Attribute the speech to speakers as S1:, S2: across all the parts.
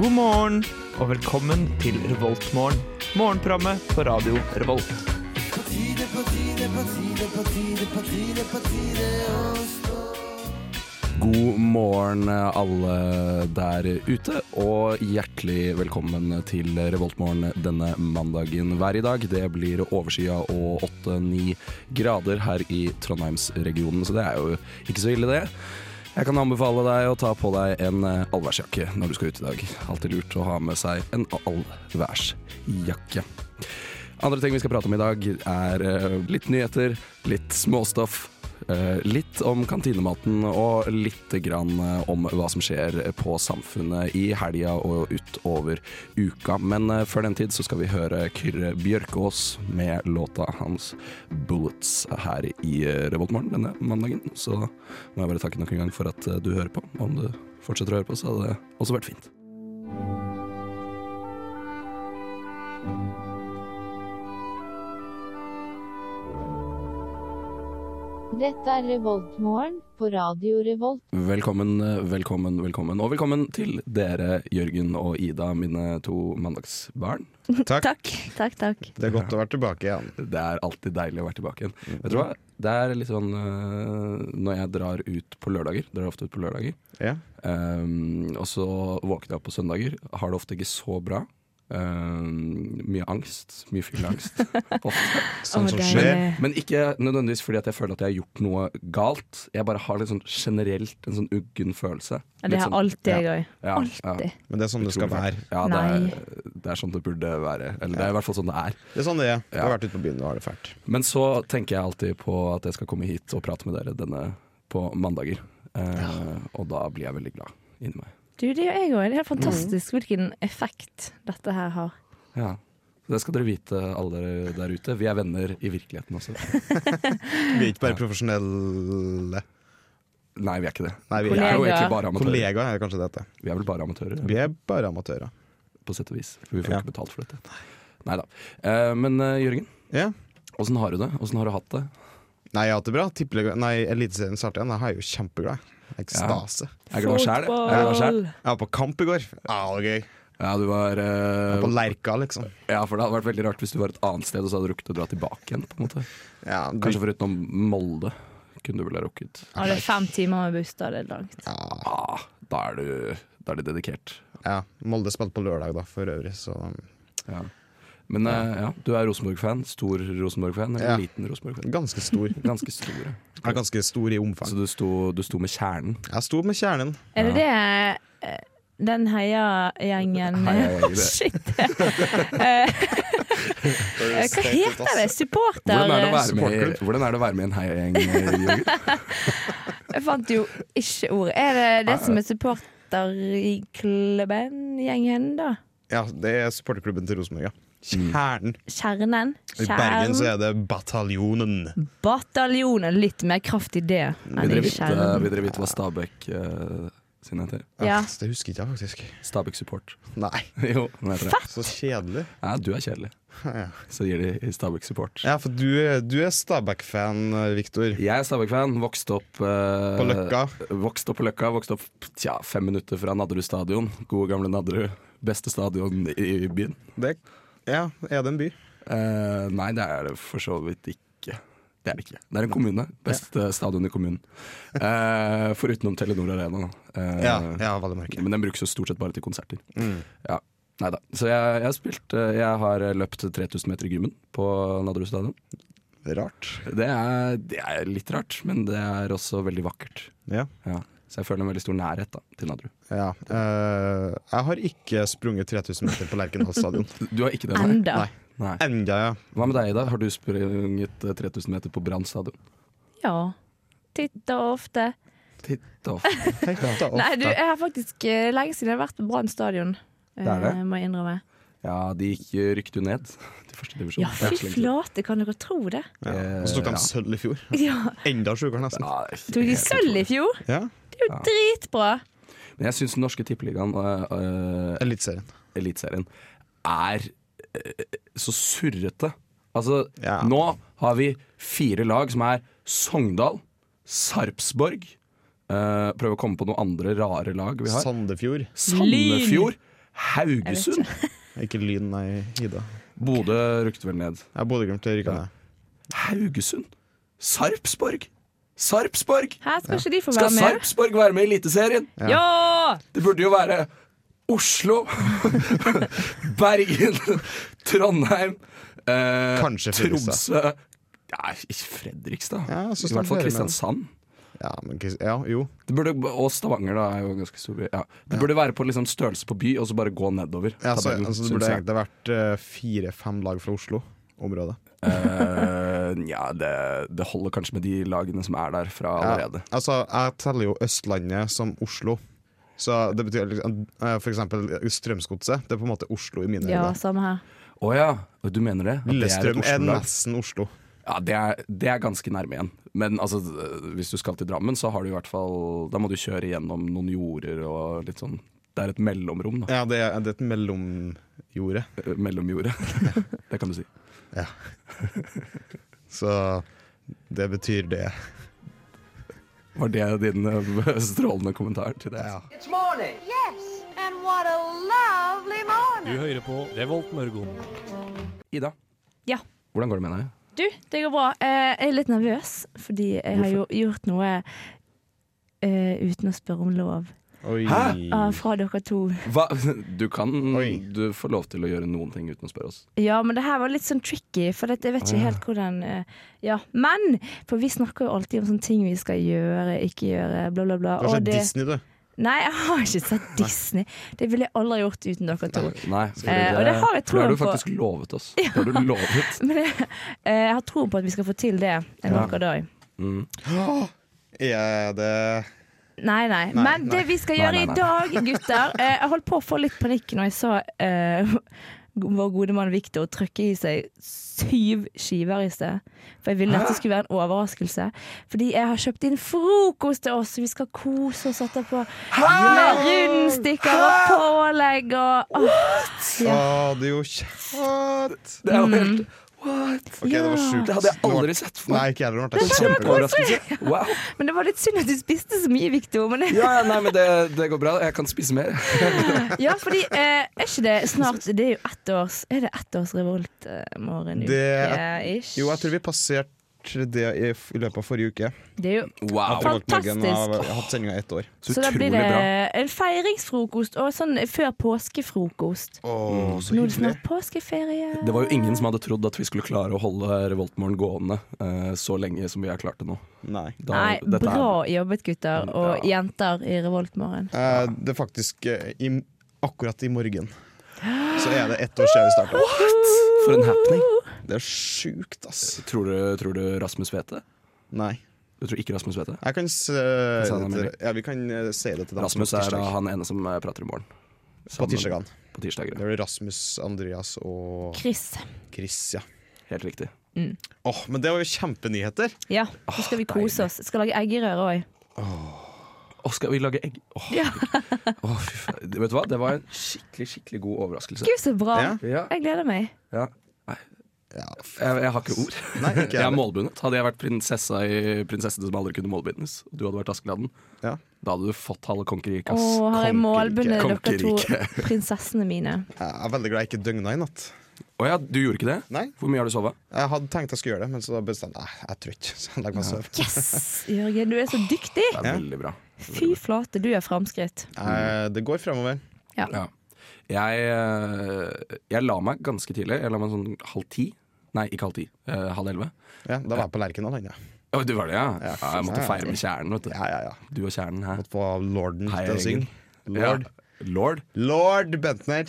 S1: God morgen og velkommen til Revoltmorgen. Morgenprogrammet på radio Revolt.
S2: God morgen alle der ute, og hjertelig velkommen til Revoltmorgen denne mandagen hver i dag. Det blir overskya og 8-9 grader her i Trondheimsregionen, så det er jo ikke så ille det. Jeg kan anbefale deg å ta på deg en eh, allværsjakke når du skal ut i dag. Alltid lurt å ha med seg en allværsjakke. Andre ting vi skal prate om i dag er eh, litt nyheter, litt småstoff, eh, litt om kantinematen og litt grann eh, om hva som skjer på samfunnet i helga og utover uka. Men eh, før den tid så skal vi høre Kyrre Bjørkås med låta hans 'Bullets' her i eh, Revoltmorgen denne mandagen. Så må jeg bare takke nok en gang for at eh, du hører på. Om du fortsetter å høre på, så hadde det også vært fint.
S3: Dette er Revoltmorgen på Radio Revolt.
S2: Velkommen, velkommen, velkommen. Og velkommen til dere, Jørgen og Ida, mine to mandagsbarn.
S4: Takk.
S5: Takk, takk, takk.
S4: Det er godt å være tilbake igjen.
S2: Det er alltid deilig å være tilbake igjen.
S5: Mhm.
S2: Vet du hva? Det er litt sånn øh, Når jeg drar ut på lørdager, drar ofte ut på lørdager,
S4: Ja.
S2: ehm, og så våkner jeg opp på søndager, har det ofte ikke så bra. Ehm, mye angst. Mye fylleangst. ofte.
S4: Sånn som
S5: Å, det er-
S4: skjer.
S2: Men ikke nødvendigvis fordi at jeg føler at jeg har gjort noe galt. Jeg bare har litt sånn generelt en sånn uggen følelse. Litt
S5: Ja, det har
S2: sånn-
S5: alltid jeg
S2: ja,
S5: òg.
S2: ja, ja.
S5: Alltid.
S4: Men det er sånn det skal være.
S2: Ja, det er, det er sånn det burde være. Eller det er i hvert fall sånn det er.
S4: Det er sånn det er. Jeg har
S2: Ja.
S4: vært ute på byen og har det fælt.
S2: Men så tenker jeg alltid på at jeg skal komme hit og prate med dere denne på mandager. Eh, Og da blir jeg veldig glad inni meg.
S5: Du, det gjør jeg òg. Det er helt
S2: Mm.
S5: fantastisk hvilken effekt dette her har.
S2: Ja. Så det skal dere vite, alle dere der ute. Vi er venner i virkeligheten også.
S4: Vi er ikke bare profesjonelle
S2: Nei, vi er ikke det.
S4: Nei, vi
S2: Vi
S4: er
S2: er jo
S5: Kollegaer.
S2: egentlig bare amatører.
S4: kollegaer, er kanskje det heter.
S2: Vi er vel bare amatører.
S4: Vi er bare amatører.
S2: på sett og vis. For vi får
S4: Ja.
S2: ikke betalt for dette. Nei da. men eh, Jørgen,
S4: Ja.
S2: åssen har du det? Åssen har du hatt det?
S4: Nei, jeg har hatt det bra. Tippeliga- Nei, Eliteserien starter igjen. Jeg er jo kjempeglad. Ekstase.
S2: Jeg er glad sjæl. Jeg er glad sjæl.
S4: Jeg var på kamp i går. Ja, det var gøy.
S2: Ja, du var eh,
S4: På Lerka, liksom.
S2: Ja, for det hadde vært veldig rart hvis du var et annet sted og så hadde du rukket å dra tilbake igjen. på en måte
S4: Ja, du,
S2: Kanskje foruten Molde kunne du vel ha rukket.
S5: Ja, det er fem timer med buss, da. Det er langt.
S4: ja,
S2: Ah, da er du, da er du dedikert.
S4: ja. Molde spilte på lørdag, da, for øvrig, så um,
S2: Ja. Men eh, ja, du er Rosenborg-fan. Stor Rosenborg-fan, eller
S4: Ja.
S2: liten Rosenborg-fan?
S4: ganske stor.
S2: Ganske stor. ja.
S4: Jeg er ganske stor i omfang.
S2: Så du sto, du sto med kjernen.
S4: Jeg sto med kjernen.
S5: Er det det eh, den heiagjengen
S2: Heiagjengen, det.
S5: Shit! Eh, Hva heter det? Supporter?
S2: Hvordan er det å være med, i-
S4: Supportklubb.
S2: hvordan er det å være med i en heiagjeng? eh, Jørgen?
S5: Jeg fant jo ikke ordet. Er det det som er supporterklubben? Gjengen, da?
S4: Ja, det er supporterklubben til Rosenborg, ja. Kjernen.
S5: Kjernen?
S4: I Bergen så
S5: Kjernen?
S4: er det Bataljonen.
S5: Bataljonen. Litt mer kraft i det
S2: Vil
S5: enn
S2: dere
S5: i
S2: vite,
S5: kjernen.
S2: vil dere vite hva Stabæk eh, sin heter?
S5: Ja.
S4: Ah, Det husker ikke jeg faktisk.
S2: Stabæk Support.
S4: Nei,
S2: jo, den heter det.
S4: så kjedelig.
S2: Ja, du er kjedelig.
S4: Ja.
S2: Så gir de Stabæk Support.
S4: Ja, for du, er- du er Stabæk-fan, Viktor.
S2: Jeg er Stabæk-fan. Vokste opp eh,
S4: På Løkka.
S2: Vokste opp på Løkka, vokste opp tja, fem minutter fra Nadderud stadion. Gode gamle Nadderud. Beste stadion i, i byen.
S4: Det- Ja, er det en by?
S2: Eh, nei, det er det for så vidt ikke. Det er det ikke. Det er en kommune. Beste stadion i kommunen. Uh, Foruten om Telenor Arena, da. Eh,
S4: Ja, ja veldig merkelig.
S2: Men den brukes jo stort sett bare til konserter.
S4: Mm.
S2: Ja. Nei da. Så jeg, jeg har spilt eh, Jeg har løpt 3000 meter i gymmen på Nadderud stadion.
S4: Rart.
S2: Det er, det er litt rart, men det er også veldig vakkert.
S4: Ja.
S2: Ja. Så jeg føler en veldig stor nærhet da, til Nadderud.
S4: ja. Eh, jeg har ikke sprunget 3000 meter på Lerkendal stadion.
S2: Du har ikke det? Nei.
S5: Enda.
S4: Nei.
S2: nei.
S4: Enda, ja.
S2: Hva med deg, Ida? Har du sprunget eh, 3000 meter på Brann stadion?
S5: Ja. Titt og ofte.
S2: Titt off. Det
S4: Tenk da,
S5: Nei,
S4: ofte.
S5: du, jeg har faktisk eh, lenge siden jeg har vært på Brann stadion. eh,
S2: Det er det.
S5: Må jeg innrømme.
S2: Ja, de gikk rykket jo ned til første divisjon.
S5: Ja, fy flate, kan dere tro det?
S4: Ja. Og så tok de sølv i fjor.
S5: Ja.
S4: Enda sjukere, nesten.
S2: Ja, det er
S5: Tok de
S2: helt
S5: sølv i fjor?
S4: Ja.
S5: Det er jo dritbra!
S2: utrolig. Men jeg syns den norske tippeligaen, uh,
S4: Eliteserien.
S2: Eliteserien, er eh, så surrete. Altså,
S4: Ja.
S2: nå har vi fire lag som er Sogndal, Sarpsborg eh, Prøver å komme på noen andre rare lag vi har.
S4: Sandefjord.
S2: Sandefjord, Haugesund?
S4: Ikke Lyn, nei, Ida.
S2: Bodø rykte vel ned.
S4: Jeg Bodø-Glimt rykka ned.
S2: Haugesund? Sarpsborg? Sarpsborg!
S5: Hæ, skal ikke de få
S2: Skal
S5: være med?
S2: Sarpsborg være med i Eliteserien?
S5: Ja!
S2: Det burde jo være Oslo, Bergen, Trondheim eh,
S4: Kanskje
S2: Tromsø
S4: Fredrikstad.
S2: Nei, ikke Fredrikstad.
S4: Ja, så
S2: I hvert fall
S4: starter dere med den.
S2: Kristiansand.
S4: Ja, men, Chris- ja, jo.
S2: Det burde, og Stavanger da er jo en ganske stor by. Ja. Det burde være på liksom størrelse på by, og så bare gå nedover.
S4: Ja, så,
S2: tabellen,
S4: altså, det
S2: synes
S4: burde
S2: jeg.
S4: egentlig vært eh, fire-fem lag fra Oslo-området.
S2: Eh, Nja, det, det holder kanskje med de lagene som er der fra allerede.
S4: Ja, altså, jeg teller jo Østlandet som Oslo. Så det betyr liksom, eh, for eksempel Strømsgodset. Det er på en måte Oslo i mine
S5: Ja,
S4: øyne.
S5: samme her.
S2: Å ja. du mener det? At det er et
S4: Lillestrøm er
S2: Oslo-lag?
S4: nesten Oslo.
S2: Ja, det er, det er ganske nærme igjen. Men altså, hvis du skal til Drammen, så har du i hvert fall Da må du kjøre gjennom noen jorder og litt sånn. Det er et mellomrom, da.
S4: Ja, det er, det er et mellomjorde.
S2: Eh, Mellomjordet. det kan du si.
S4: Så det betyr det.
S2: Var det din eh, strålende kommentar til det?
S6: It's morning.
S7: Yes, and what a lovely morning.
S8: Du hører på Revolt Mørgon.
S2: Ida,
S5: Ja.
S2: hvordan går det med deg?
S5: Du, det går bra. Eh, Jeg er litt nervøs, fordi jeg har jo gjort noe eh, uten å spørre om lov
S4: Oi.
S2: Hæ?
S5: ah, fra dere to.
S2: Hva? Du kan
S4: Oi.
S2: Du får lov til å gjøre noen ting uten å spørre oss.
S5: Ja, men det her var litt sånn tricky, for det, jeg vet ikke helt hvordan eh, Ja, men! For vi snakker jo alltid om sånne ting vi skal gjøre, ikke gjøre, bla, bla, bla.
S4: Du har
S5: Og
S4: sett
S5: det-
S4: Disney, du.
S5: Nei, jeg har ikke sett Disney. Det ville jeg aldri gjort uten dere to.
S2: Nei, fordi
S5: Eh, og det
S2: for det
S5: har jeg
S2: har
S5: troen
S2: du faktisk lovet oss. Det har du lovet.
S5: Men jeg, eh, jeg har tro på at vi skal få til det en
S2: Ja.
S5: vakker dag.
S2: Mm.
S4: Er det
S5: Nei, nei.
S4: Nei,
S5: Men
S4: nei.
S5: det vi skal
S2: Nei,
S5: gjøre
S2: nei, nei.
S5: i dag, gutter eh, Jeg holdt på å få litt panikk når jeg så eh, vår gode mann Victor trykke i seg syv skiver i sted. For jeg ville at det skulle være en overraskelse. Fordi jeg har kjøpt inn frokost til oss, vi skal kose oss etterpå. Med rundstykker og pålegg og åh,
S4: Å,
S5: ja.
S4: det er jo kjent!
S2: Det er jo
S5: Mm.
S2: helt What?
S4: OK, det var sjukt.
S2: Det hadde jeg aldri sett for
S4: Nei,
S2: meg.
S4: ikke jeg heller. Marte.
S2: En Kjempeoverraskelse. Wow.
S5: Men det var litt synd at du spiste så mye, Victor. Men
S2: Ja, ja, nei, men det, det går bra. Jeg kan spise mer.
S5: Ja, fordi eh, er ikke det snart Det er jo ett års Er det ett års revolt eh, morgen
S4: Det er-
S5: uke ish?
S4: Jo, jeg tror vi passerte det i, f- i løpet av forrige uke.
S5: Det er jo
S2: Wow.
S5: Fan- Fantastisk.
S4: Revoltmorgen har jeg har hatt sendinga i ett år.
S2: Så
S5: så da
S2: utrolig
S5: blir det
S2: bra.
S5: en feiringsfrokost og sånn før påskefrokost.
S4: Å, så
S5: Nå er det snart påskeferie.
S2: Det var jo ingen som hadde trodd at vi skulle klare å holde Revoltmorgen gående eh, så lenge som vi har klart det nå.
S4: Nei.
S2: Da-
S5: Nei,
S2: dette er-
S5: bra jobbet, gutter og
S2: Ja.
S5: jenter i Revoltmorgen.
S4: Eh, det er faktisk eh, i, akkurat i morgen. Så er det ett år siden vi starta.
S2: For en happening.
S4: Det er sjukt, ass.
S2: Tror du, tror du Rasmus vet det?
S4: Nei.
S2: Du tror ikke Rasmus vet det?
S4: Jeg kan se
S2: Kan sende
S4: det
S2: melding.
S4: til, ja, Vi kan eh, si det til dem
S2: Rasmus
S4: på
S2: er da
S4: tirsdag.
S2: han ene som eh, prater i morgen.
S4: På
S2: Sammen-
S4: tirsdagene.
S2: På tirsdager,
S4: Det
S2: ja.
S4: blir Rasmus, Andreas og
S5: Chris.
S4: Chris, ja.
S2: Helt riktig.
S4: Åh, men det var jo kjempenyheter!
S5: Ja, nå skal vi
S2: Ah,
S5: kose oss. Skal lage eggerøre òg.
S2: Å, skal vi lage egg? Åh,
S5: Ja.
S2: herregud. Åh, fy faen. Vet du hva? Det var en skikkelig, skikkelig god overraskelse.
S5: Gud, så bra.
S4: Ja.
S2: Ja,
S5: Jeg gleder meg.
S2: ja.
S4: Ja, f-
S2: Jeg, jeg har ikke ord.
S4: Nei, ikke
S2: Jeg er
S4: heller.
S2: målbundet. Hadde jeg vært prinsessa i 'Prinsessen som aldri kunne målbindes', og du hadde vært Askeladden,
S4: Ja.
S2: da hadde du fått halve kongeriket.
S5: Å,
S2: ass.
S5: har jeg målbundet dere to
S2: Kongerike.
S5: prinsessene mine?
S4: Jeg er veldig glad jeg ikke døgna i natt.
S2: Å ja, du gjorde ikke det?
S4: Nei.
S2: Hvor mye har du sovet?
S4: Jeg hadde tenkt jeg skulle gjøre det, men så da bestemte jeg jeg er trøtt. Så jeg legger meg og sover.
S5: Yes, Jørgen, du er så dyktig!
S2: Det er
S4: Ja.
S2: veldig bra.
S5: Fy flate, du er framskritt.
S4: Eh, Det går fremover.
S2: Ja. Jeg, eh, jeg la meg ganske tidlig. Jeg la meg sånn halv ti. Nei, ikke halv ti. Eh, halv elleve.
S4: Ja, da var jeg på Lerkendal ennå.
S2: Å, du var det, ja? ja jeg måtte
S4: ja, ja.
S2: feire med kjernen, vet du.
S4: Ja, ja, ja.
S2: Du og kjernen her.
S4: Måtte få lorden
S2: Hei,
S4: til å
S2: Jørgen.
S4: synge. Lord.
S2: Ja. Lord?
S4: Lord Bentner.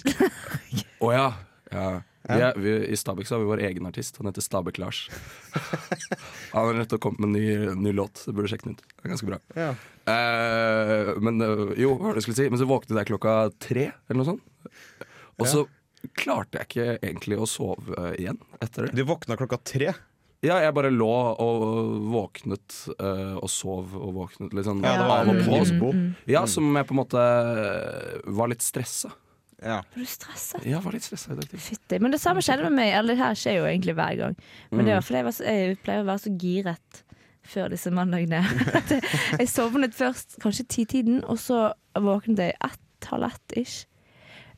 S2: Å ja. ja. Vi er, vi, I Stabæk så har vi vår egen artist. Han heter Stabæk-Lars. Han har nettopp kommet med en ny, ny låt. Du burde sjekke den ut. Det er ganske bra.
S4: Ja.
S2: Eh, men eh, jo, hva var det jeg skulle si? Men så våknet jeg klokka tre, eller noe sånt. Og så klarte jeg ikke egentlig å sove eh, igjen etter det.
S4: Du våkna klokka tre.
S2: Ja, jeg bare lå og våknet eh, og sov og våknet litt sånn
S4: Ja, Mm, det var
S2: av og
S4: en
S2: på.
S4: limbo.
S2: Ja, som jeg på en måte eh, var litt stressa.
S4: Ja.
S5: Er du stressa?
S2: Ja, var litt stressa i dag tidlig.
S5: Fytti. Men det samme skjedde med meg. Eller det her skjer jo egentlig hver gang. Men
S2: Mm.
S5: det var fordi jeg, var så, jeg pleier å være så giret før disse mandagene. At jeg- jeg sovnet først kanskje titiden, og så våknet jeg ett, halv ett ish.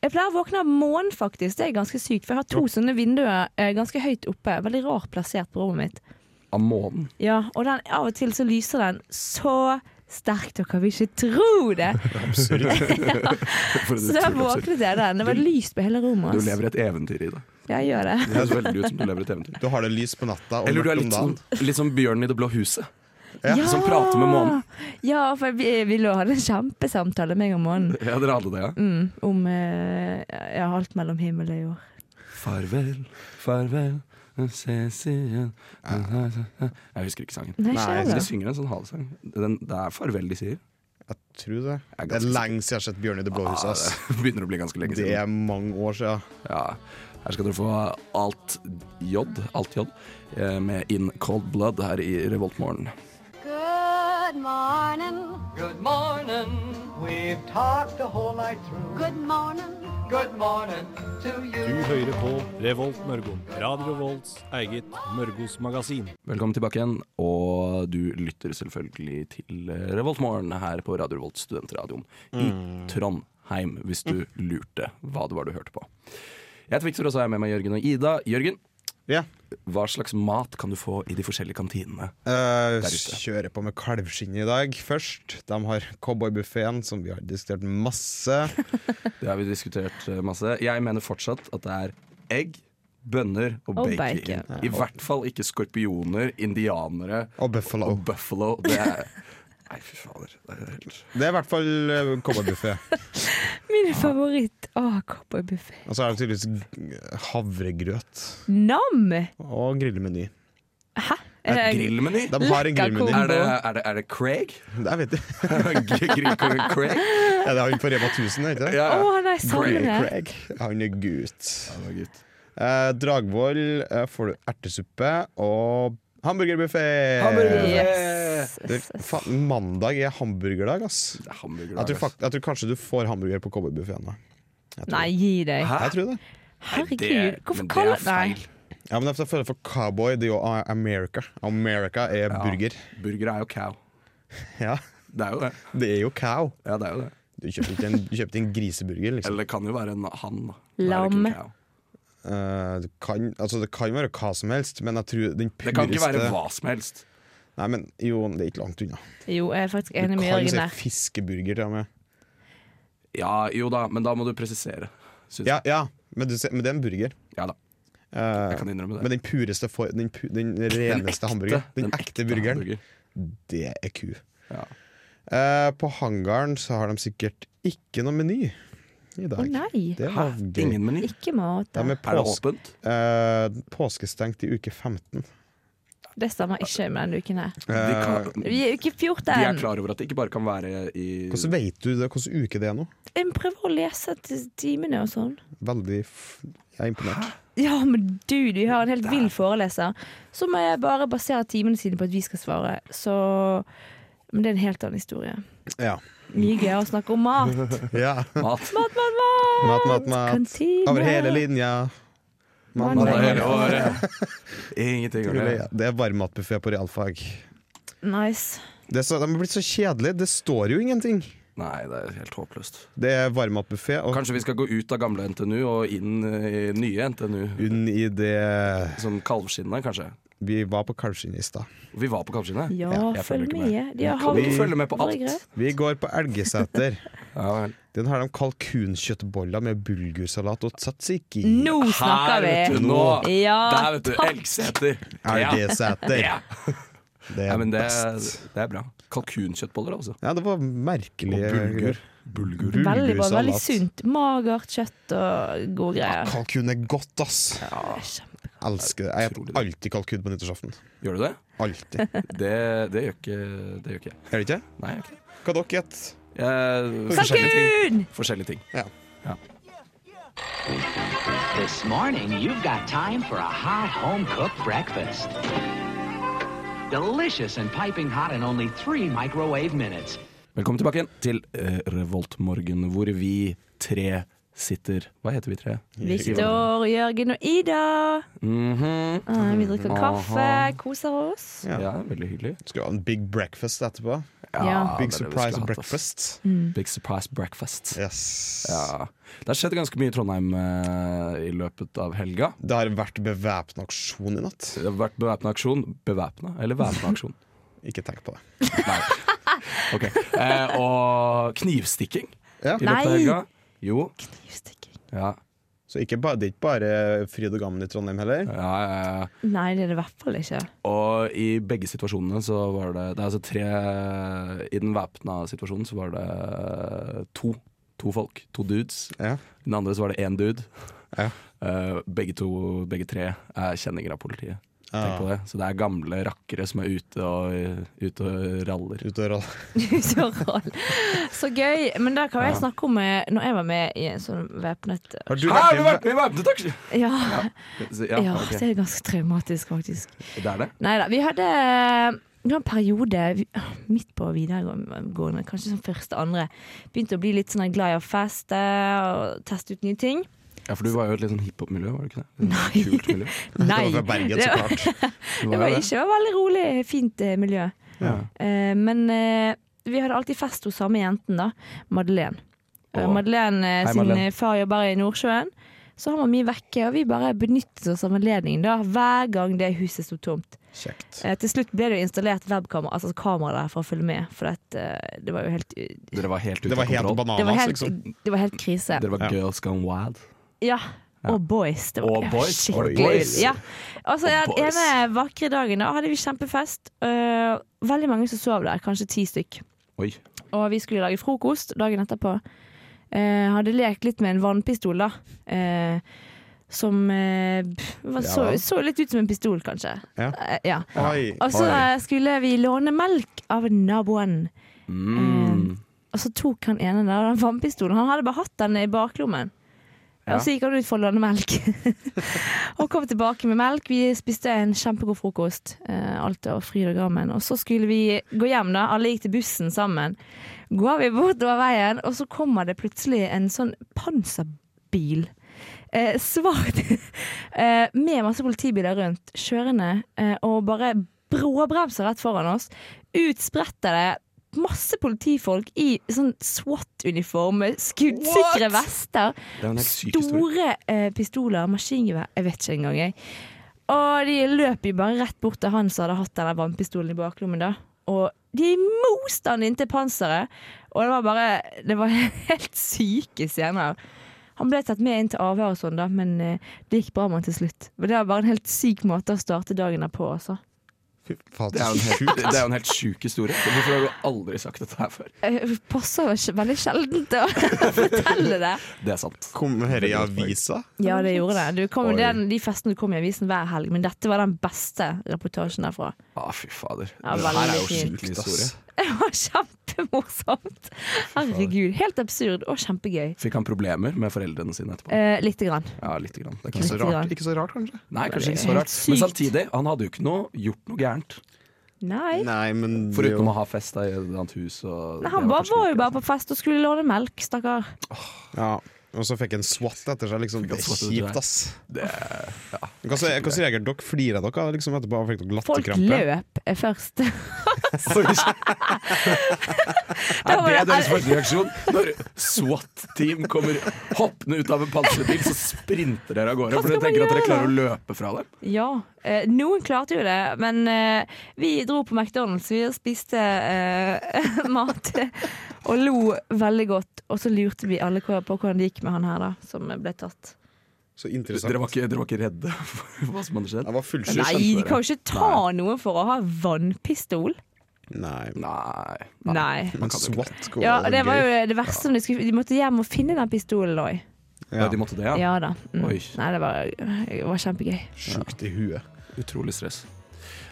S5: Jeg pleier å våkne av månen, faktisk. Det er ganske sykt. For jeg har to sånne vinduer eh, ganske høyt oppe. Veldig rart plassert på rommet mitt.
S2: Av månen.
S5: Ja, Og den, av og til så lyser den så sterkt, dere vil ikke tro det!
S2: Absurd. For en
S5: Så
S2: utrolig
S5: da
S2: absurd.
S5: våknet jeg av den. Det var lyst på hele rommet.
S2: Du
S5: ass.
S2: lever et eventyr i det.
S5: Ja, jeg gjør det.
S2: Det høres veldig ut som du lever et eventyr.
S4: Du har det lys på natta og
S2: Eller du er
S4: mørkt om
S2: litt sånn,
S4: dagen.
S2: litt sånn bjørnen i Det blå huset.
S4: Ja,
S2: som prater med månen.
S5: Ja, for vi, vi lå og hadde en kjempesamtale, meg og månen,
S2: Ja, dere hadde det, ja.
S5: mm, om eh, ja, alt mellom himmel og jord.
S2: Farvel, farvel, ses igjen Jeg husker ikke sangen.
S5: Nei,
S4: Nei,
S5: skjer
S2: De
S5: det?
S2: synger en sånn halesang. Den- Det er farvel de sier.
S4: Jeg tror det.
S2: er
S4: Det er
S2: ganske
S4: lenge siden jeg har sett Bjørn i det blå huset.
S2: Ja,
S4: ass.
S2: det begynner å bli ganske lenge
S4: Det
S2: siden.
S4: er mange år siden.
S2: Ja. Her skal dere få alt J, alt J, eh, med In Cold Blood her i Revoltmorgen.
S7: Good morning.
S6: Good morning. We've talked the whole night through.
S7: Good morning.
S6: Good morning to you.
S8: Du hører på Revolt Mørgo. Radio Revolts eget Mørgos magasin.
S2: Velkommen tilbake igjen, og du lytter selvfølgelig til eh, Revoltmorgen her på Radio Revolt, studentradioen
S4: Mm.
S2: i Trondheim, hvis du lurte hva det var du hørte på. Jeg heter Victor, og så er jeg med meg Jørgen og Ida. Jørgen,
S4: Ja.
S2: hva slags mat kan du få i de forskjellige kantinene? Der
S4: Eh,
S2: ute.
S4: kjører på med kalvskinn i dag først. De har cowboybuffeen, som vi har diskutert masse.
S2: Det har vi diskutert eh, masse. Jeg mener fortsatt at det er egg, bønner og,
S5: Og
S2: bacon.
S5: bacon.
S2: I hvert fall ikke skorpioner, indianere
S4: Og buffalo.
S2: og buffalo. Det er Nei, fy fader. Det er helt...
S4: Det er i hvert fall eh, cowboybuffé.
S5: Min favoritt. Å, cowboybuffé.
S4: Og så er det tydeligvis havregrøt
S5: Nam!
S4: og grillmeny.
S5: Hæ?
S2: Et
S5: Er det-
S2: grillmeny?
S4: De har en
S5: Lekka
S4: grillmeny.
S5: ko-
S2: Er det, er, det, er det Craig?
S4: Jeg vet ikke.
S2: Grillkongen Craig?
S4: Er det han på Rema 1000, er det ikke det?
S2: Ja,
S5: Å,
S2: ja.
S5: han er sammen med
S4: Craig. Han er gutt.
S2: Ja, det var gutt.
S4: Eh, Dragvoll eh, får du ertesuppe og hamburgerbuffé.
S2: Hamburger.
S5: Yes.
S4: Det- faen, Mandag er hamburgerdag, ass.
S2: Det er hamburger.
S4: Jeg tror,
S2: ass.
S4: fakt, jeg tror kanskje du får hamburger på cowboybuffeen. da. Jeg tror
S5: Nei,
S4: det.
S5: gi deg.
S2: Hæ?
S4: Jeg tror det.
S2: Nei, det-
S5: Herregud. Hvorfor
S2: men det er
S5: kaller
S2: feil.
S5: Nei.
S4: Ja, men jeg føler for cowboy det er jo A- America. America er
S2: Ja.
S4: burger.
S2: Burger er jo cow.
S4: Ja,
S2: Det er jo det.
S4: Det er jo cow.
S2: Ja, det er jo det.
S4: Du kjøpte ikke en, du kjøpte ikke en griseburger, liksom.
S2: Eller det kan jo være en han. da. Det er jo ikke en
S5: Lam.
S2: cow.
S4: Eh, det, kan, altså, det kan være hva som helst, men jeg tror den pureste
S2: Det kan ikke være hva som helst.
S4: Nei, men jo, det er ikke langt unna.
S5: Jo, jeg er faktisk
S4: Du
S5: enig med
S4: kan
S5: Jørgen
S4: si
S5: der.
S4: fiskeburger til og med.
S2: Ja, jo da, men da må du presisere. Synes
S4: Ja, ja men, du, ser- men det er en burger.
S2: jeg. ja da,
S4: Eh,
S2: jeg kan innrømme det.
S4: men den pureste for, den, pu, den reneste hamburgeren. Den, ekte burgeren,
S2: hamburger.
S4: det er ku.
S2: Ja.
S4: Eh, på hangaren så har de sikkert ikke noe meny i
S5: Å
S4: dag.
S5: nei.
S4: Det
S2: Hæ?
S4: var gøy.
S2: Ingen meny?
S5: Ikke mat.
S4: De er,
S2: Er det
S4: pås
S2: åpent?
S4: eh, påskestengt i uke 15.
S5: Det stemmer ikke med denne uken her.
S2: De,
S4: Eh,
S2: kan,
S5: Vi er
S2: de
S5: uke
S2: er
S5: 14.
S2: klar over at det ikke bare kan være i
S4: Hvordan vet du det, hvordan uke det er nå?
S5: Jeg prøver å lese til timene og sånn.
S4: Veldig f Jeg er imponert.
S5: Ja, men du, vi har en helt vill foreleser som eh, bare baserer timene sine på at vi skal svare. Så Men det er en helt annen historie.
S4: Ja.
S5: Mye gøyere å snakke om mat.
S4: ja.
S2: mat.
S5: Mat, mat, mat!
S4: Mat, mat, mat.
S5: Kantine.
S4: Over hele linja. Mat,
S5: Man
S2: Man
S4: mat,
S2: er
S4: mat.
S5: er-
S2: hele året. Ingenting å gjøre.
S4: Det er varmmatbuffé på realfag.
S5: Nice.
S4: Det er så, de er blitt så kjedelige. Det står jo ingenting.
S2: Nei, det er helt håpløst.
S4: Det er varmmatbuffé og
S2: Kanskje vi skal gå ut av gamle NTNU og inn i nye NTNU.
S4: unn i det
S2: Som kalvskinnet, kanskje.
S4: Vi var på kalvskinnet i stad.
S2: Vi var på kalvskinnet.
S5: Ja,
S2: jeg følger
S5: følg
S2: ikke
S5: med. De har
S2: Kan vi
S5: havre-
S2: følge med på alt?
S5: havregrøt.
S4: Vi går på Elgeseter.
S2: Ja, vel.
S4: Den har de kalkunkjøttboller med bulgursalat og tzatziki.
S5: Nå
S2: Her,
S5: snakker
S2: vet du,
S5: vi!
S2: nå! Der,
S5: Ja,
S2: vet du.
S5: takk.
S2: Elgseter. Ja.
S4: Elgeseter.
S2: Ja.
S4: Det
S2: Ja,
S4: er
S2: men det,
S4: best.
S2: det er bra. Kalkunkjøttboller, altså.
S4: Ja, det var merkelig.
S2: Bulgur.
S5: Veldig bra, veldig
S4: Bulgursalat.
S5: sunt. Magert kjøtt og gode
S4: Ja,
S5: greier.
S4: kalkun er godt, ass. Elsker det.
S2: Utrolig
S4: Jeg spiser
S2: digg.
S4: alltid kalkun på nyttårsaften.
S2: Gjør du det?
S4: Alltid. Er
S2: Det, det gjør ikke Det gjør ikke jeg.
S4: det ikke?
S2: Nei, jeg gjør ikke det.
S4: Hva dere gjett?
S2: Jeg- Forskjellige ting.
S5: Kalkun!
S2: Forskjellige ting.
S6: This morning, you've got time for a hot home cooked breakfast. Delicious and piping hot in only three microwave minutes.
S2: Velkommen tilbake igjen til eh, Revoltmorgen, hvor vi tre sitter Hva heter vi tre?
S5: Viktor, Jørgen og Ida.
S2: Mhm.
S5: Eh, Vi drikker
S2: Aha.
S5: kaffe, koser oss.
S4: Ja.
S2: Ja, veldig hyggelig.
S4: Skulle ha en big breakfast etterpå.
S5: Ja.
S2: det er det vi
S4: Big surprise
S2: skulle hatt, ass.
S4: breakfast.
S2: Big surprise breakfast.
S4: Yes.
S2: Ja. Det har skjedd ganske mye i Trondheim eh, i løpet av helga.
S4: Det har vært bevæpna aksjon i natt.
S2: Det har vært bevæpna aksjon. Bevæpna eller væpna aksjon?
S4: Ikke tenk på det.
S2: Nei. Ok. Eh, og knivstikking
S4: Ja.
S2: i løpet av
S5: Nei.
S2: helga. Jo.
S5: Knivstikking.
S2: Ja.
S4: Så ikke bare, det er ikke bare fryd og gammen i Trondheim heller.
S2: Ja, ja, ja.
S5: Nei, det er det i hvert fall ikke.
S2: Og i begge situasjonene så var det Det er altså tre I den væpna situasjonen så var det eh, to. To folk. To dudes.
S4: Ja.
S2: I den andre så var det én dude.
S4: Ja.
S2: Eh, begge to, begge tre, er kjenninger av politiet. Tenk på
S4: Ja.
S2: det. Så det er gamle rakkere som er ute og, ute og raller.
S4: Ut og roll.
S5: Så rar. Så gøy. Men det kan jeg snakke om eh, Når jeg var med i en sånn væpnet
S4: Har du
S2: Hæ, vi
S4: vært i
S2: var vi var væpnet aksjon!
S5: Ja,
S2: Så- Ja,
S5: ja
S2: ok.
S5: det er ganske traumatisk, faktisk.
S2: Det er det.
S5: Nei da. Vi hadde eh, det var en periode vi- ah, midt på videregående, kanskje som første, andre, begynte å bli litt sånn glad i å feste og teste ut nye ting.
S2: Ja, for du var jo i et litt sånn hiphop-miljø, var det ikke det? Litt sånn
S5: Nei.
S2: Kult miljø.
S4: Det var fra Bergen, så
S5: det,
S2: Du
S4: klart.
S5: det
S2: var
S5: var
S2: jo
S5: ikke det var veldig rolig, fint eh, miljø.
S2: Ja.
S5: Eh, men eh, vi hadde alltid fest hos samme jenten, da. Madeleine. Eh,
S2: Åh.
S5: Madeleine eh,
S2: Hei,
S5: sin
S2: Madeleine.
S5: eh, far jobber i Nordsjøen. Så han var mye vekke, og vi bare benyttet oss av anledningen da, hver gang det huset sto tomt.
S4: Kjekt.
S5: Eh, til slutt ble det jo installert webkamera, altså kamera der for å følge med, for at, eh, det var jo helt Det
S2: Dere var helt ute
S4: Det
S2: av
S4: var helt
S2: kontroll.
S5: var
S4: bananas,
S5: helt,
S4: liksom.
S5: det var helt krise.
S2: Dere var
S4: Ja.
S2: girls gone wild.
S5: Ja. Og boys. Det var
S2: Og
S5: ja,
S2: boys. Var det
S5: skikkelig
S2: boys?
S5: Ja. Altså,
S2: Og
S5: den
S2: boys.
S5: ene vakre dagen da hadde vi kjempefest. Eh, veldig mange som sov der, kanskje ti stykk.
S2: Oi.
S5: Og vi skulle lage frokost dagen etterpå. Eh, hadde lekt litt med en vannpistol, da. Eh, som eh, pff, var, så,
S4: Ja.
S5: så litt ut som en pistol, kanskje.
S4: Ja.
S5: Eh, ja.
S4: Oi.
S5: Og så eh, skulle vi låne melk av naboen.
S2: Mm.
S5: Og så tok han ene der den vannpistolen. Han hadde bare hatt den i baklommen.
S2: Ja.
S5: Og så gikk han ut for å låne melk. og kom tilbake med melk. Vi spiste en kjempegod frokost. Eh, alt av fryd og gammen. Og så skulle vi gå hjem, da. Alle gikk til bussen sammen. Går vi bortover veien, og så kommer det plutselig en sånn panserbil. Eh, svart. eh, med masse politibiler rundt, kjørende, eh, og bare bråbremser rett foran oss. Utspretter det masse politifolk i sånn SWAT-uniform, med skuddsikre
S2: What?
S5: vester.
S2: Det er jo en helt syk historie.
S5: Store eh, pistoler, maskingevær, jeg vet ikke engang, jeg. Og de løp jo bare rett bort til han som hadde hatt denne vannpistolen i baklommen, da. Og de moste han inntil panseret. Og det var bare Det var helt syke scener. Han ble tatt med inn til avhør og sånn, da, men eh, det gikk bra med han til slutt. Men det var bare en helt syk måte å starte dagen der på, altså.
S4: Fy faen,
S2: Det er jo en helt, det er jo en helt sjuk historie. Hvorfor har du aldri sagt dette her før?
S5: Jeg passer jo ikke- veldig sjelden til å fortelle det.
S2: Det er sant.
S4: Kom her i avisa?
S5: Ja, det gjorde det. Du kom,
S2: Oi.
S5: den, de festene kom i avisen hver helg, men dette var den beste reportasjen derfra.
S2: Å, fy fader.
S5: Ja,
S2: det her er jo
S5: veldig fint.
S2: skikkelig historie.
S5: Det var kjempemorsomt. Herregud. Helt absurd og kjempegøy.
S2: Fikk han problemer med foreldrene sine etterpå?
S5: Eh, lite grann.
S2: Ja, lite grann. Det
S4: Ikke
S2: kan
S4: så
S5: Lite grann.
S4: rart, ikke så rart kanskje?
S2: Nei, kanskje ikke
S5: Helt
S2: så rart. Men
S5: sykt.
S2: samtidig, han hadde jo ikke noe, gjort noe gærent.
S5: Nei. Nei,
S4: Nei, men det er jo-
S2: Foruten å ha fest da i et annet hus. Og
S5: han bare, var jo bare på fest og skulle låne melk, stakkar.
S4: Ja, og så fikk en SWAT etter seg. Liksom,
S2: Fikk en
S4: det er
S2: SWAT etter seg.
S4: kjipt, ass. Hva så- hva så reagerte dere? Flirer dere liksom, etterpå? Fikk dere
S5: Folk
S4: latterkrampe?
S5: løp eh, først.
S2: Er
S5: var
S2: det
S5: det-
S2: deres første reaksjon? Når SWAT-team kommer hoppende ut av en pansret bil, så sprinter dere av gårde.
S5: Hva
S2: For dere
S5: skal man
S2: tenker at dere
S5: gjøre
S2: klarer å løpe fra dem.
S5: Ja. Eh, noen klarte jo det, men eh, vi dro på McDonald's. Vi spiste eh, mat og lo veldig godt. Og så lurte vi alle på hvordan det gikk med han her, da, som ble tatt.
S4: Så interessant.
S2: Dere var ikke, dere var ikke redde for hva som hadde skjedd?
S4: Jeg var fullsjuk.
S5: Nei,
S2: kjempe-
S5: de kan jo ikke ta noen for å ha vannpistol.
S4: Nei.
S2: Nei.
S5: Nei.
S4: Men SWAT går
S5: Ja, det var jo det verste. om De, skulle, de måtte hjem og finne den pistolen òg.
S2: Ja, de måtte det, ja.
S5: Ja da. Mm.
S2: Oi.
S5: Nei, det var, det var kjempegøy.
S4: Sjukt i huet.
S2: Utrolig stress.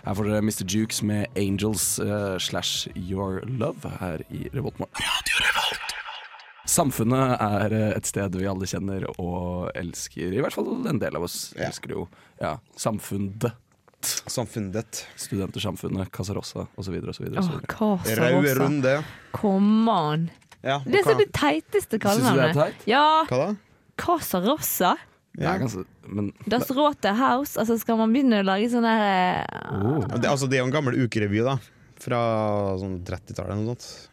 S2: Her får dere Mr. Jukes med 'Angels' eh, slash 'Your Love' her i Revoltmorgen. Samfunnet er eh, et sted vi alle kjenner og elsker. I hvert fall en del av oss
S4: Ja.
S2: elsker jo ja, samfunnet.
S4: Samfunnet ditt.
S2: Studentersamfunnet, Casarossa osv. osv.
S5: Åh, hva så
S4: Røde
S5: også.
S4: runde.
S5: Kom an.
S4: Ja, og
S5: Det er så
S4: hva,
S5: det
S2: Syns du
S5: teiteste
S2: det er
S5: kallenavnet.
S2: teit?
S5: Ja,
S4: hva da?
S5: Casa Rossa.
S2: Det
S4: Ja.
S2: er ganske, men
S5: Das Rote House. Altså, skal man begynne å lage sånne her, eh,
S4: Det, altså, det er jo en gammel ukerevy, da. Fra sånn 30-tallet eller noe sånt.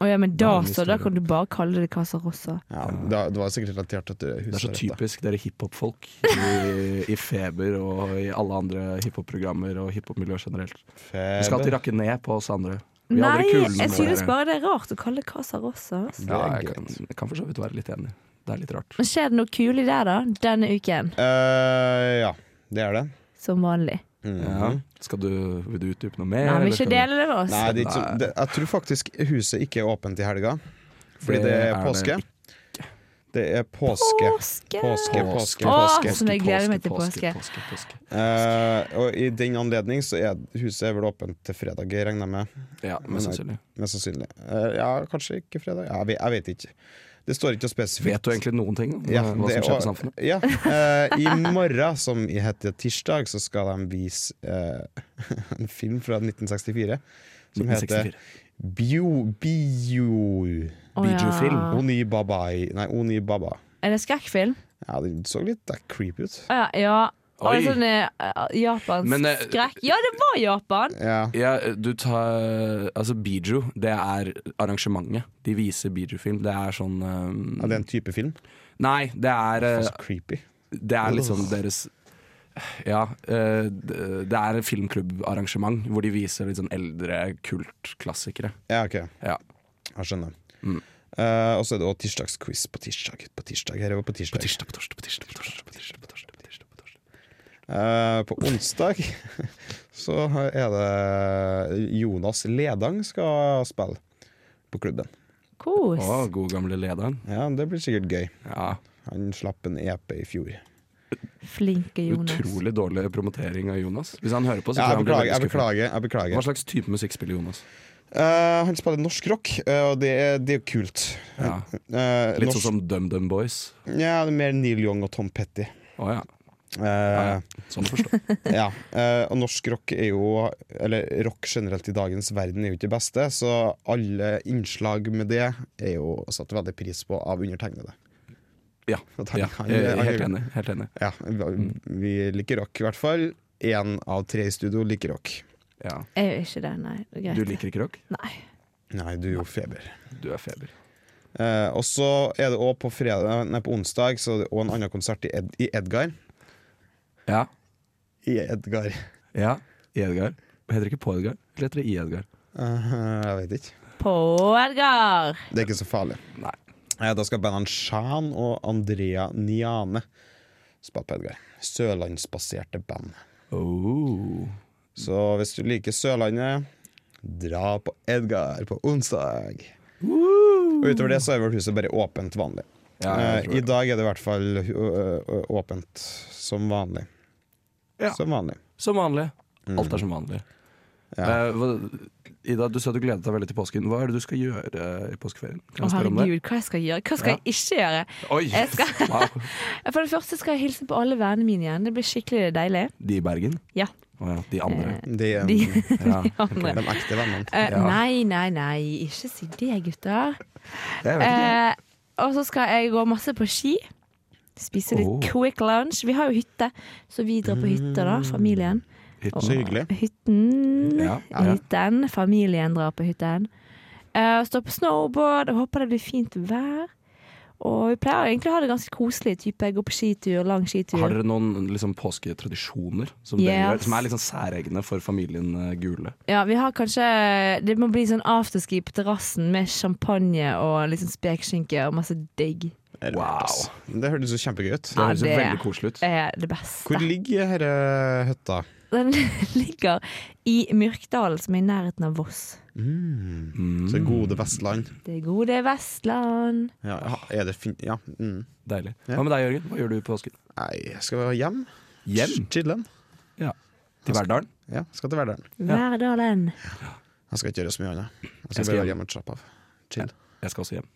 S5: Å ja, men da
S2: Vanlig
S5: så, da
S2: historie.
S5: kan du bare kalle det Casa Rossa.
S4: Ja, det, det var sikkert relatert til at
S2: det er så
S4: huset der oppe.
S2: typisk dere hiphop-folk i, i Feber og i alle andre hiphop-programmer og hiphop-miljø generelt. Vi
S4: Eh,
S2: skal alltid rakke ned på oss andre. Vi er
S5: Nei,
S2: aldri kule
S5: jeg
S2: som
S5: synes
S2: dere.
S5: bare det er rart å kalle det Casa Rossa.
S2: Ja,
S5: altså.
S4: Det er
S2: jeg kan,
S4: greit.
S2: jeg kan for så vidt være litt enig. Det er litt rart.
S5: Men skjer det noe kul i det da, denne uken,
S4: Eh, ja, det er det.
S5: som vanlig?
S4: Mhm.
S2: Ja. Skal du, vil du utdype noe mer?
S5: Nei,
S2: eller
S5: vil ikke
S2: skal
S5: dele det med oss.
S4: Nei, det er ikke, så- det, jeg tror faktisk huset ikke er åpent i helga, fordi det er
S2: det
S4: påske. Det er påske.
S5: Påske!
S4: Påske, påske,
S5: Åh,
S4: påske.
S5: som jeg gleder meg til påske.
S2: påske, påske,
S4: Eh, og i den anledning så er huset er vel åpent til fredag, regner jeg med.
S2: påske. Ja, mest sannsynlig.
S4: Mest sannsynlig. Eh, ja, kanskje ikke fredag. Ja, jeg, vet- jeg vet ikke. Det står ikke spesifikt.
S2: Vet du egentlig noen ting om
S4: Ja,
S2: hva som
S4: det-
S2: skjer på
S4: og-
S2: samfunnet?
S4: Ja. eh, I morgen, som i heter tirsdag, så skal de vise eh, en film fra 1964 som
S2: 1964.
S4: heter Bio... Bio...
S5: Å, ja.
S2: Videofilm.
S4: Oni Babai Nei, Oni Baba.
S5: Er det skrekkfilm?
S4: Ja, den så litt eh, creepy ut.
S5: Å, ja, ja.
S2: Oi.
S5: Altså, sånn eh, japansk
S2: Men, eh,
S5: skrekk. Ja, det var Japan!
S4: Ja.
S2: Ja, du tar Altså, Biju, det er arrangementet. De viser Biju-film. Det er sånn um,
S4: ja, det er en type film.
S2: Nei, det er
S4: Faen,
S2: eh,
S4: så creepy.
S2: Det er liksom deres Ja. eh, d- Det er et filmklubbarrangement hvor de viser litt sånn eldre kultklassikere.
S4: Ja, OK.
S2: Ja.
S4: Jeg skjønner.
S2: Mm.
S4: Eh, og så er det også tirsdagsquiz på tirsdag. På tirsdag, Her er vi på tirsdag. På,
S2: Tirsdag, på torsdag, på tirsdag, på torsdag, på tirsdag, på torsdag, på tirsdag, på torsdag.
S4: Eh, på onsdag så er det Jonas Ledang skal spille på klubben.
S5: Kos.
S2: Å, god gamle lederen.
S4: Ja, Det blir sikkert gøy.
S2: Ja,
S4: Han slapp en EP i fjor.
S5: Flinke Jonas.
S2: Utrolig dårlig promotering av Jonas. Hvis han hører på, så
S4: Ja,
S2: tror jeg
S4: jeg
S2: han blir
S4: beklager. jeg
S2: veldig skuffet.
S4: beklager, jeg
S2: Hva
S4: beklager.
S2: slags type musikk spiller Jonas?
S4: Eh, han spiller norsk rock, eh, og det er, det er jo kult.
S2: Ja,
S4: Eh,
S2: litt
S4: norsk-
S2: sånn som DumDum Boys.
S4: Ja, det er mer Neil Young og Tom Petty.
S2: Å ja.
S4: Eh,
S2: ja. Sånn å forstå.
S4: ja. eh, og norsk rock er jo Eller rock generelt i dagens verden er jo ikke det beste, så alle innslag med det er jo satt veldig pris på av undertegnede.
S2: Ja,
S4: At han-
S2: ja.
S4: han-
S2: jeg er
S4: han-
S2: Helt enig. Mm. Helt enig.
S4: Ja, vi, vi liker rock, i hvert fall. Én av tre i studio liker rock.
S2: Ja.
S5: Jeg gjør ikke det, nei. Det er greit.
S2: Du liker ikke rock?
S5: Nei.
S4: Nei, du er jo feber.
S2: Du er feber.
S4: Eh, og så er det òg på, fredag- nei, på onsdag så er det også en annen konsert i, Ed, i Edgar.
S2: Ja.
S4: I Edgar.
S2: Ja, i Edgar. Heter det ikke på Edgar, eller heter det i Edgar?
S4: Eh, jeg vet ikke.
S5: På Edgar!
S4: Det er ikke så farlig.
S2: Nei.
S4: Eh, Da skal bandene Shan og Andrea Niane spille på Edgar. Sørlandsbaserte band.
S2: Oh.
S4: Så hvis du liker Sørlandet, dra på Edgar på onsdag. Og utover det så er vel huset bare åpent vanlig.
S2: Ja, jeg tror
S4: Eh, I
S2: det.
S4: dag er det i hvert fall ø, ø, ø, åpent som vanlig.
S2: Ja.
S4: Som vanlig.
S2: Som vanlig. Alt er som vanlig.
S4: Ja.
S2: Eh, hva- Ida, du sa du gledet deg veldig til påsken. Hva er det du skal gjøre eh, i påskeferien? Kan
S5: Å,
S2: jeg spørre om det?
S5: herregud, hva jeg skal gjøre? Hva skal
S2: Ja.
S5: jeg ikke gjøre?
S2: Oi!
S5: Jeg skal-
S2: Wow.
S5: Eh, For det første skal jeg hilse på alle vennene mine igjen. Det blir skikkelig deilig.
S2: De i Bergen?
S5: Ja.
S2: Å ja, de andre.
S4: De, eh,
S5: De,
S2: Ja.
S5: andre.
S4: de ekte vennene.
S5: Eh,
S2: Ja.
S5: Nei, nei, nei. Ikke si det, gutter.
S2: Jeg vet ikke.
S5: Eh, og så skal jeg gå masse på ski. Spise litt
S2: Oh.
S5: quick lunch. Vi har jo hytte, så vi drar på hytta,
S2: Mm.
S5: da. Familien.
S2: Hytten.
S4: Så hyggelig.
S5: Hytten.
S2: Ja, ja.
S5: Hytten. Familien drar på hytten. Eh, og står på snowboard og håper det blir fint vær. Og vi pleier egentlig å ha det ganske koselig. Type gå på skitur, lang skitur.
S2: Har dere noen liksom, påsketradisjoner som, dere
S5: Yes.
S2: gjør, som er liksom særegne for familien eh, Gule?
S5: Ja, vi har kanskje Det må bli sånn afterski på terrassen med champagne og liksom spekeskinke og masse digg.
S4: Det er
S2: Wow.
S4: rart, ass. Det hørtes jo kjempegøy ut.
S2: Det
S5: Ja,
S2: høres jo
S5: det- Eh.
S2: veldig koselig ut.
S5: Det er det beste.
S4: Hvor ligger dette hytta?
S5: Den ligger i Myrkdalen, som er i nærheten av Voss.
S2: Mm.
S4: Så gode Vestland.
S5: Det gode Vestland.
S4: Ja, er det fin... Ja. Mm.
S2: Deilig. Hva med deg, Jørgen? Hva gjør du i påsken?
S4: Nei, skal vi hjem?
S2: Hjem?
S4: Chillen.
S2: Ja. Til Verdalen?
S4: Ja, skal til Verdalen.
S5: Verdalen.
S4: Jeg skal ikke gjøre så mye annet. Jeg
S2: Jeg
S4: skal
S2: skal
S4: bare være
S2: hjem.
S4: hjemme og slappe av. Chill.
S2: Jeg skal også hjem.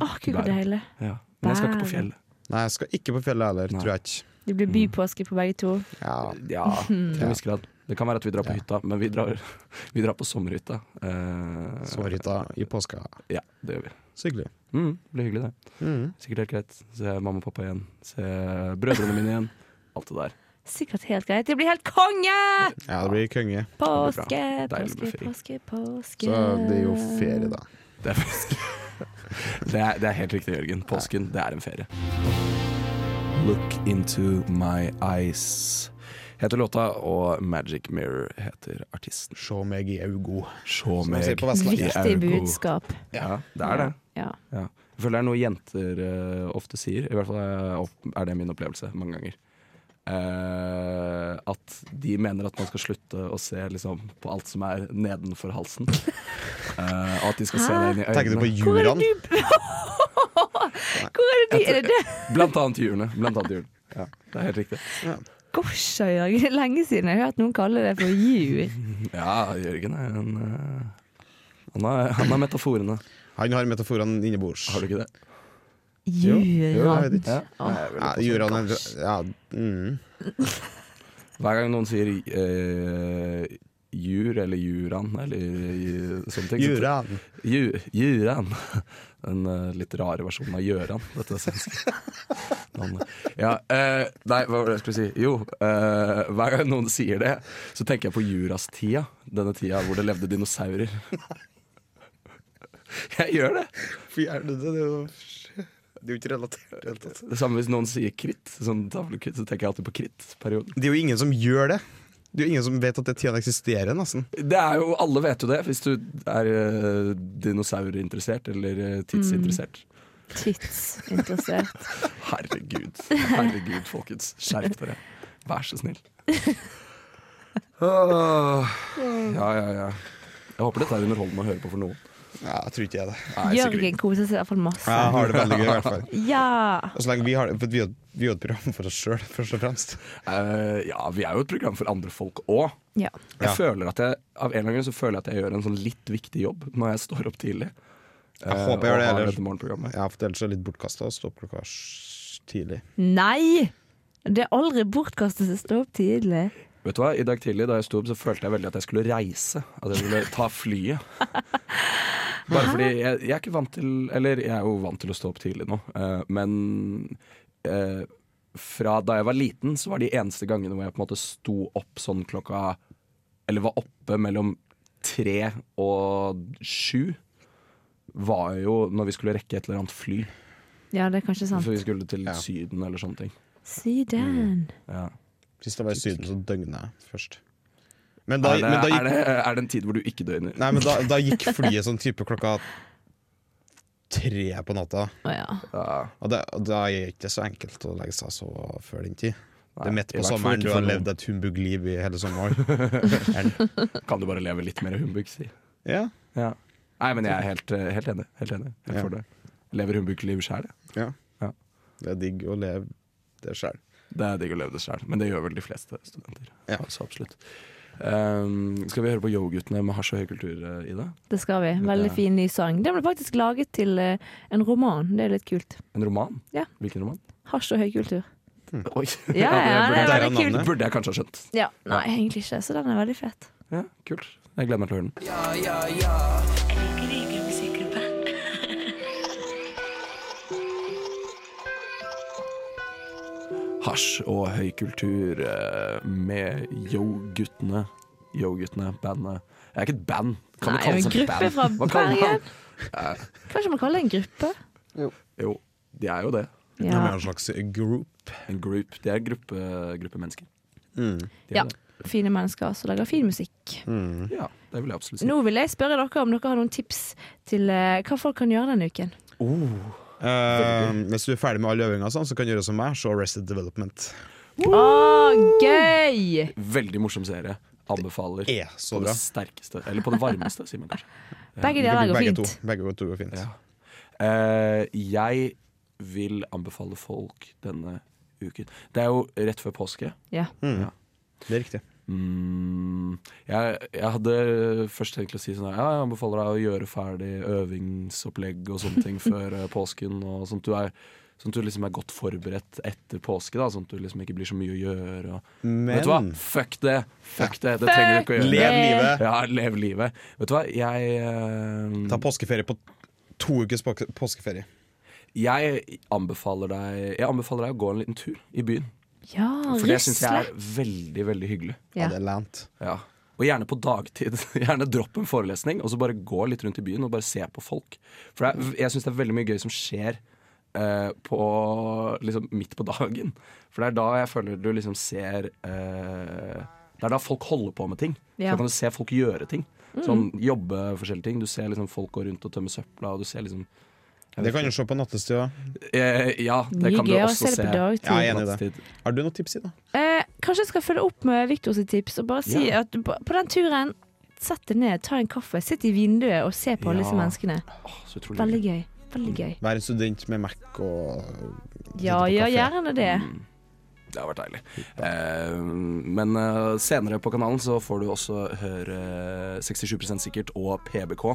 S5: Åh, gud, så deilig.
S2: Ja. Men jeg skal ikke på fjellet.
S4: Nei, jeg skal ikke på fjellet heller,
S2: Nei.
S4: tror jeg ikke.
S5: Det blir bypåske på begge to.
S4: Ja.
S2: Ja, til en viss grad. Det kan være at vi drar på hytta, men vi drar, vi drar på sommerhytta. Eh,
S4: Sommerhytta i påska.
S2: Ja, det gjør vi.
S4: Så hyggelig.
S2: Mm, det blir hyggelig, det.
S4: Mm.
S2: Sikkert helt greit. Se mamma og pappa igjen. Se brødrene mine igjen. Alt det der.
S5: Sikkert helt greit. Det blir helt konge!
S4: Ja, det blir konge.
S5: Påske,
S2: Deilig med
S5: påske,
S2: ferie.
S5: påske, påske.
S4: Så det er jo ferie, da.
S2: Det er, det er, det er helt riktig, Jørgen. Påsken, det er en ferie. Look into my eyes heter låta, og Magic Mirror heter artisten.
S4: Se meg i augo.
S2: Sjå
S4: Som man sier
S2: meg
S4: på Vestlandet.
S5: Viktig budskap.
S2: Ja, det er det.
S5: Ja.
S2: Ja. Jeg føler det er noe jenter eh, ofte sier, i hvert fall er opp- er det min opplevelse mange ganger. Eh, at de mener at man skal slutte å se liksom, på alt som er nedenfor halsen. Eh, og at de skal se det inn i
S4: Tenker du på
S2: øynene.
S4: juraen?
S5: Hvor er det de? Er det det?
S2: Blant annet hjulene. Blant annet hjulene. Ja, det er helt riktig.
S5: Gosja, Jørgen. Det er lenge siden jeg har hørt noen kalle det for jur.
S2: Ja, Jørgen er en eh, han, har, han har metaforene,
S4: Han har metaforene innebords.
S2: har du ikke det?
S4: Ja,
S5: Jura.
S4: jeg vet ikke. Ja,
S2: Ja.
S4: juraen er sånn ja, mm.
S2: Hver gang noen sier eh, jur eller juran eller ju- sånne ting så-
S4: Juraen.
S2: Ju, Juran. Den eh, litt rare versjonen av Gjøran. Dette svenske navnet. Ja, eh, nei, hva var det jeg skulle si? Jo, eh, hver gang noen sier det, så tenker jeg på jurastida. Denne tida hvor det levde dinosaurer. Jeg gjør det!
S4: Hvorfor gjør du det? Det er jo- det er jo ikke relatert altså. i det hele tatt.
S2: Det samme hvis noen sier kritt, sånn tavlekritt, så tenker jeg alltid på krittperioden.
S4: Det er jo ingen som gjør det. Det er jo ingen som vet at den tida eksisterer, nesten.
S2: Det er jo, Alle vet jo det, hvis du er eh, dinosaurinteressert eller eh, tidsinteressert.
S5: Tidsinteressert.
S2: Herregud, herregud, folkens. Skjerp dere. Vær så snill. Åh, Ja, ja, ja. Jeg håper dette er underholdende å høre på for noen.
S4: Ja, jeg tror ikke jeg det.
S2: Nei, sikkert ikke.
S5: Jørgen koser seg i hvert fall masse.
S4: Jeg har det veldig gøy, i hvert fall.
S5: Ja!
S4: Og så lenge vi har det, for vi har, vi har et program for oss sjøl, først og fremst.
S2: Eh, ja, vi er jo et program for andre folk òg.
S5: ja.
S2: Jeg
S4: Ja.
S2: føler at jeg, av en eller annen grunn så føler jeg at jeg gjør en sånn litt viktig jobb når jeg står opp tidlig. Eh,
S4: Jeg håper jeg gjør det,
S2: og har
S4: ellers-
S2: dette morgenprogrammet.
S4: Ja, for ellers er det litt bortkasta å stoppe klokka s- tidlig.
S5: Nei! Det er aldri bortkastet å stå opp tidlig.
S2: Vet du hva, I dag tidlig da jeg sto opp, så følte jeg veldig at jeg skulle reise. At jeg skulle ta flyet. Bare fordi jeg, jeg er ikke vant til Eller jeg er jo vant til å stå opp tidlig nå, eh, men eh, fra da jeg var liten, så var de eneste gangene hvor jeg på en måte sto opp sånn klokka Eller var oppe mellom tre og sju, var jo når vi skulle rekke et eller annet fly.
S5: Ja, det er kanskje sant.
S2: For vi skulle til
S4: Ja.
S2: Syden eller sånne ting.
S5: Syden.
S2: Ja.
S4: Sist jeg var i Syden, så døgna jeg først. Men da,
S2: Er, det,
S4: men da
S2: er,
S4: gikk,
S2: det, er det en tid hvor du ikke døgner?
S4: nei, men da, da gikk flyet sånn type klokka tre på natta.
S5: Å ja.
S2: Ja.
S4: Og det, og da er det ikke så enkelt å legge seg så før den tid.
S2: Nei,
S4: det er midt
S2: i
S4: på
S2: hvert fall
S4: sommeren,
S2: ikke
S4: du
S2: for
S4: har
S2: noen.
S4: levd et humbug-liv i hele sommeren.
S2: Kan du bare leve litt mer humbug, si.
S4: ja,
S2: Ja. Nei, men jeg er helt, eh, helt enig. Helt enig. Helt
S4: Ja.
S2: for det. Lever humbug-liv sjæl, jeg.
S4: ja.
S2: Ja.
S4: Det er digg å leve det sjøl.
S2: Det er digg å leve det sjæl, men det gjør vel de fleste studenter.
S4: Ja.
S2: Så absolutt. Ehm, skal vi høre på Yo-guttene med hasj og høykultur, eh, Ida?
S5: Det skal vi. Veldig fin ny sang. Den ble faktisk laget til eh, en roman. Det er litt kult.
S2: En roman?
S5: Ja.
S2: Hvilken roman?
S5: Hasj og høykultur.
S2: Oi!
S5: Ja, ja, det er
S4: Der er
S5: veldig kult.
S4: navnet.
S2: burde jeg kanskje ha skjønt.
S5: Ja, nei, egentlig ikke. Så den er veldig fet.
S2: Ja, kult. Jeg gleder meg til å høre den. Hasj og høykultur eh, med Yo-guttene. Yo-guttene, bandet. Jeg er ikke et band. Kan
S5: Nei,
S2: det kalles
S5: en
S2: et
S5: gruppe
S2: band?
S5: fra
S2: Hva kaller man-
S5: Bergen. Kanskje man kaller det en gruppe?
S2: Jo, de er jo det.
S5: Ja.
S4: En slags group.
S2: En group. De er en gruppe, gruppe mennesker.
S4: Mm,
S2: De er
S5: ja.
S2: det.
S5: Fine mennesker som lager fin musikk.
S4: mm.
S2: ja, det vil jeg absolutt si.
S5: Nå vil jeg spørre dere om dere har noen tips til eh, hva folk kan gjøre denne uken.
S4: Eh, hvis du er ferdig med alle øvinger, og sånn, så kan du gjøre som meg, se Arrested Development.
S5: Å, gøy!
S2: Veldig morsom serie. Anbefaler.
S4: Det er E, så
S2: på
S4: bra.
S2: det sterkeste. Eller på det varmeste, sier man kanskje.
S5: Begge deler går
S4: begge
S5: fint.
S4: To, begge to går fint.
S2: Ja. Eh, jeg vil anbefale folk denne uken Det er jo rett før påske.
S5: Ja.
S4: Mm. Det er riktig.
S2: Mm, jeg, jeg hadde først tenkt å si sånn her, ja, jeg anbefaler deg å gjøre ferdig øvingsopplegg og sånne ting før eh, påsken. Og sånt. Du er, Sånn at du liksom er godt forberedt etter påske, da, sånn at du liksom ikke blir så mye å gjøre. Og... Vet du hva?
S4: Men
S2: Fuck det! Fuck det, det trenger du ikke å gjøre.
S4: lev livet.
S2: Ja, lev livet. Vet du hva, jeg eh,
S4: Ta påskeferie på to ukers påske- påskeferie.
S2: Jeg anbefaler deg Jeg anbefaler deg å gå en liten tur i byen.
S5: Ja,
S2: For det syns jeg
S5: rusle.
S2: er veldig, veldig hyggelig.
S4: Ja,
S5: Ja.
S4: det er lant.
S2: Ja. Og gjerne på dagtid. Gjerne dropp en forelesning og så bare gå litt rundt i byen og bare se på folk. For det er, jeg syns det er veldig mye gøy som skjer eh, på, liksom, midt på dagen. For det er da jeg føler du liksom ser eh, Det er da folk holder på med ting.
S5: Ja.
S2: Så kan du se folk gjøre ting. Sånn Jobbe forskjellige ting. Du ser liksom folk gå rundt og tømme søpla, og du ser liksom jeg
S4: Det
S2: vet
S4: kan du se på nattestua.
S2: ikke. eh, Ja, det
S5: Mye
S2: kan du
S5: gøy å
S2: også
S5: se det
S2: se.
S5: på dagtid.
S4: Ja, jeg er enig i det.
S2: Nattstid.
S4: Har du noen tips, Ida?
S5: Eh, kanskje jeg skal følge opp med Victor sitt tips og bare si
S2: Ja.
S5: at på på den turen Sett deg ned, ta en kaffe, sitt i vinduet og se på alle disse
S2: Ja.
S5: menneskene.
S2: Åh, så utrolig
S5: Veldig
S2: gøy.
S5: gøy. Veldig gøy.
S4: Vær en student med Mac og
S5: Ja,
S4: sitte på
S5: gjør
S4: kafé.
S5: gjerne det.
S2: Mm. Det har vært deilig. Eh, men eh, senere på kanalen så får du også høre 67 sikkert og PBK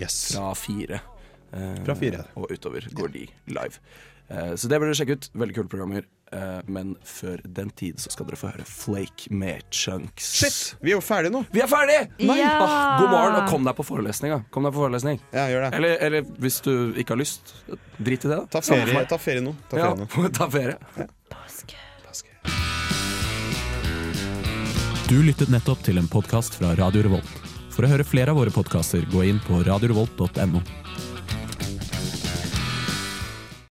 S4: Yes.
S2: fra fire. Eh,
S4: Fra fire.
S2: Og utover går de live. Eh, så det bør dere sjekke ut. Veldig kule programmer. Eh, men før den tid så skal dere få høre Flake med Chunks.
S4: Shit, vi er jo ferdige nå!
S2: Vi er ferdig!
S5: Nei. Ja!
S2: Ah, god morgen, og kom deg på forelesning. Da. Kom deg på forelesning.
S4: Ja, gjør det.
S2: Eller, eller hvis du ikke har lyst, drit i det, da.
S4: Ta ferie, ta ferie nå. Ta ferie
S2: Ja,
S4: nå.
S2: ta ferie.
S9: Du lyttet nettopp til en podkast fra Radio Revolt. For å høre flere av våre podkaster, gå inn på radiorevolt.no.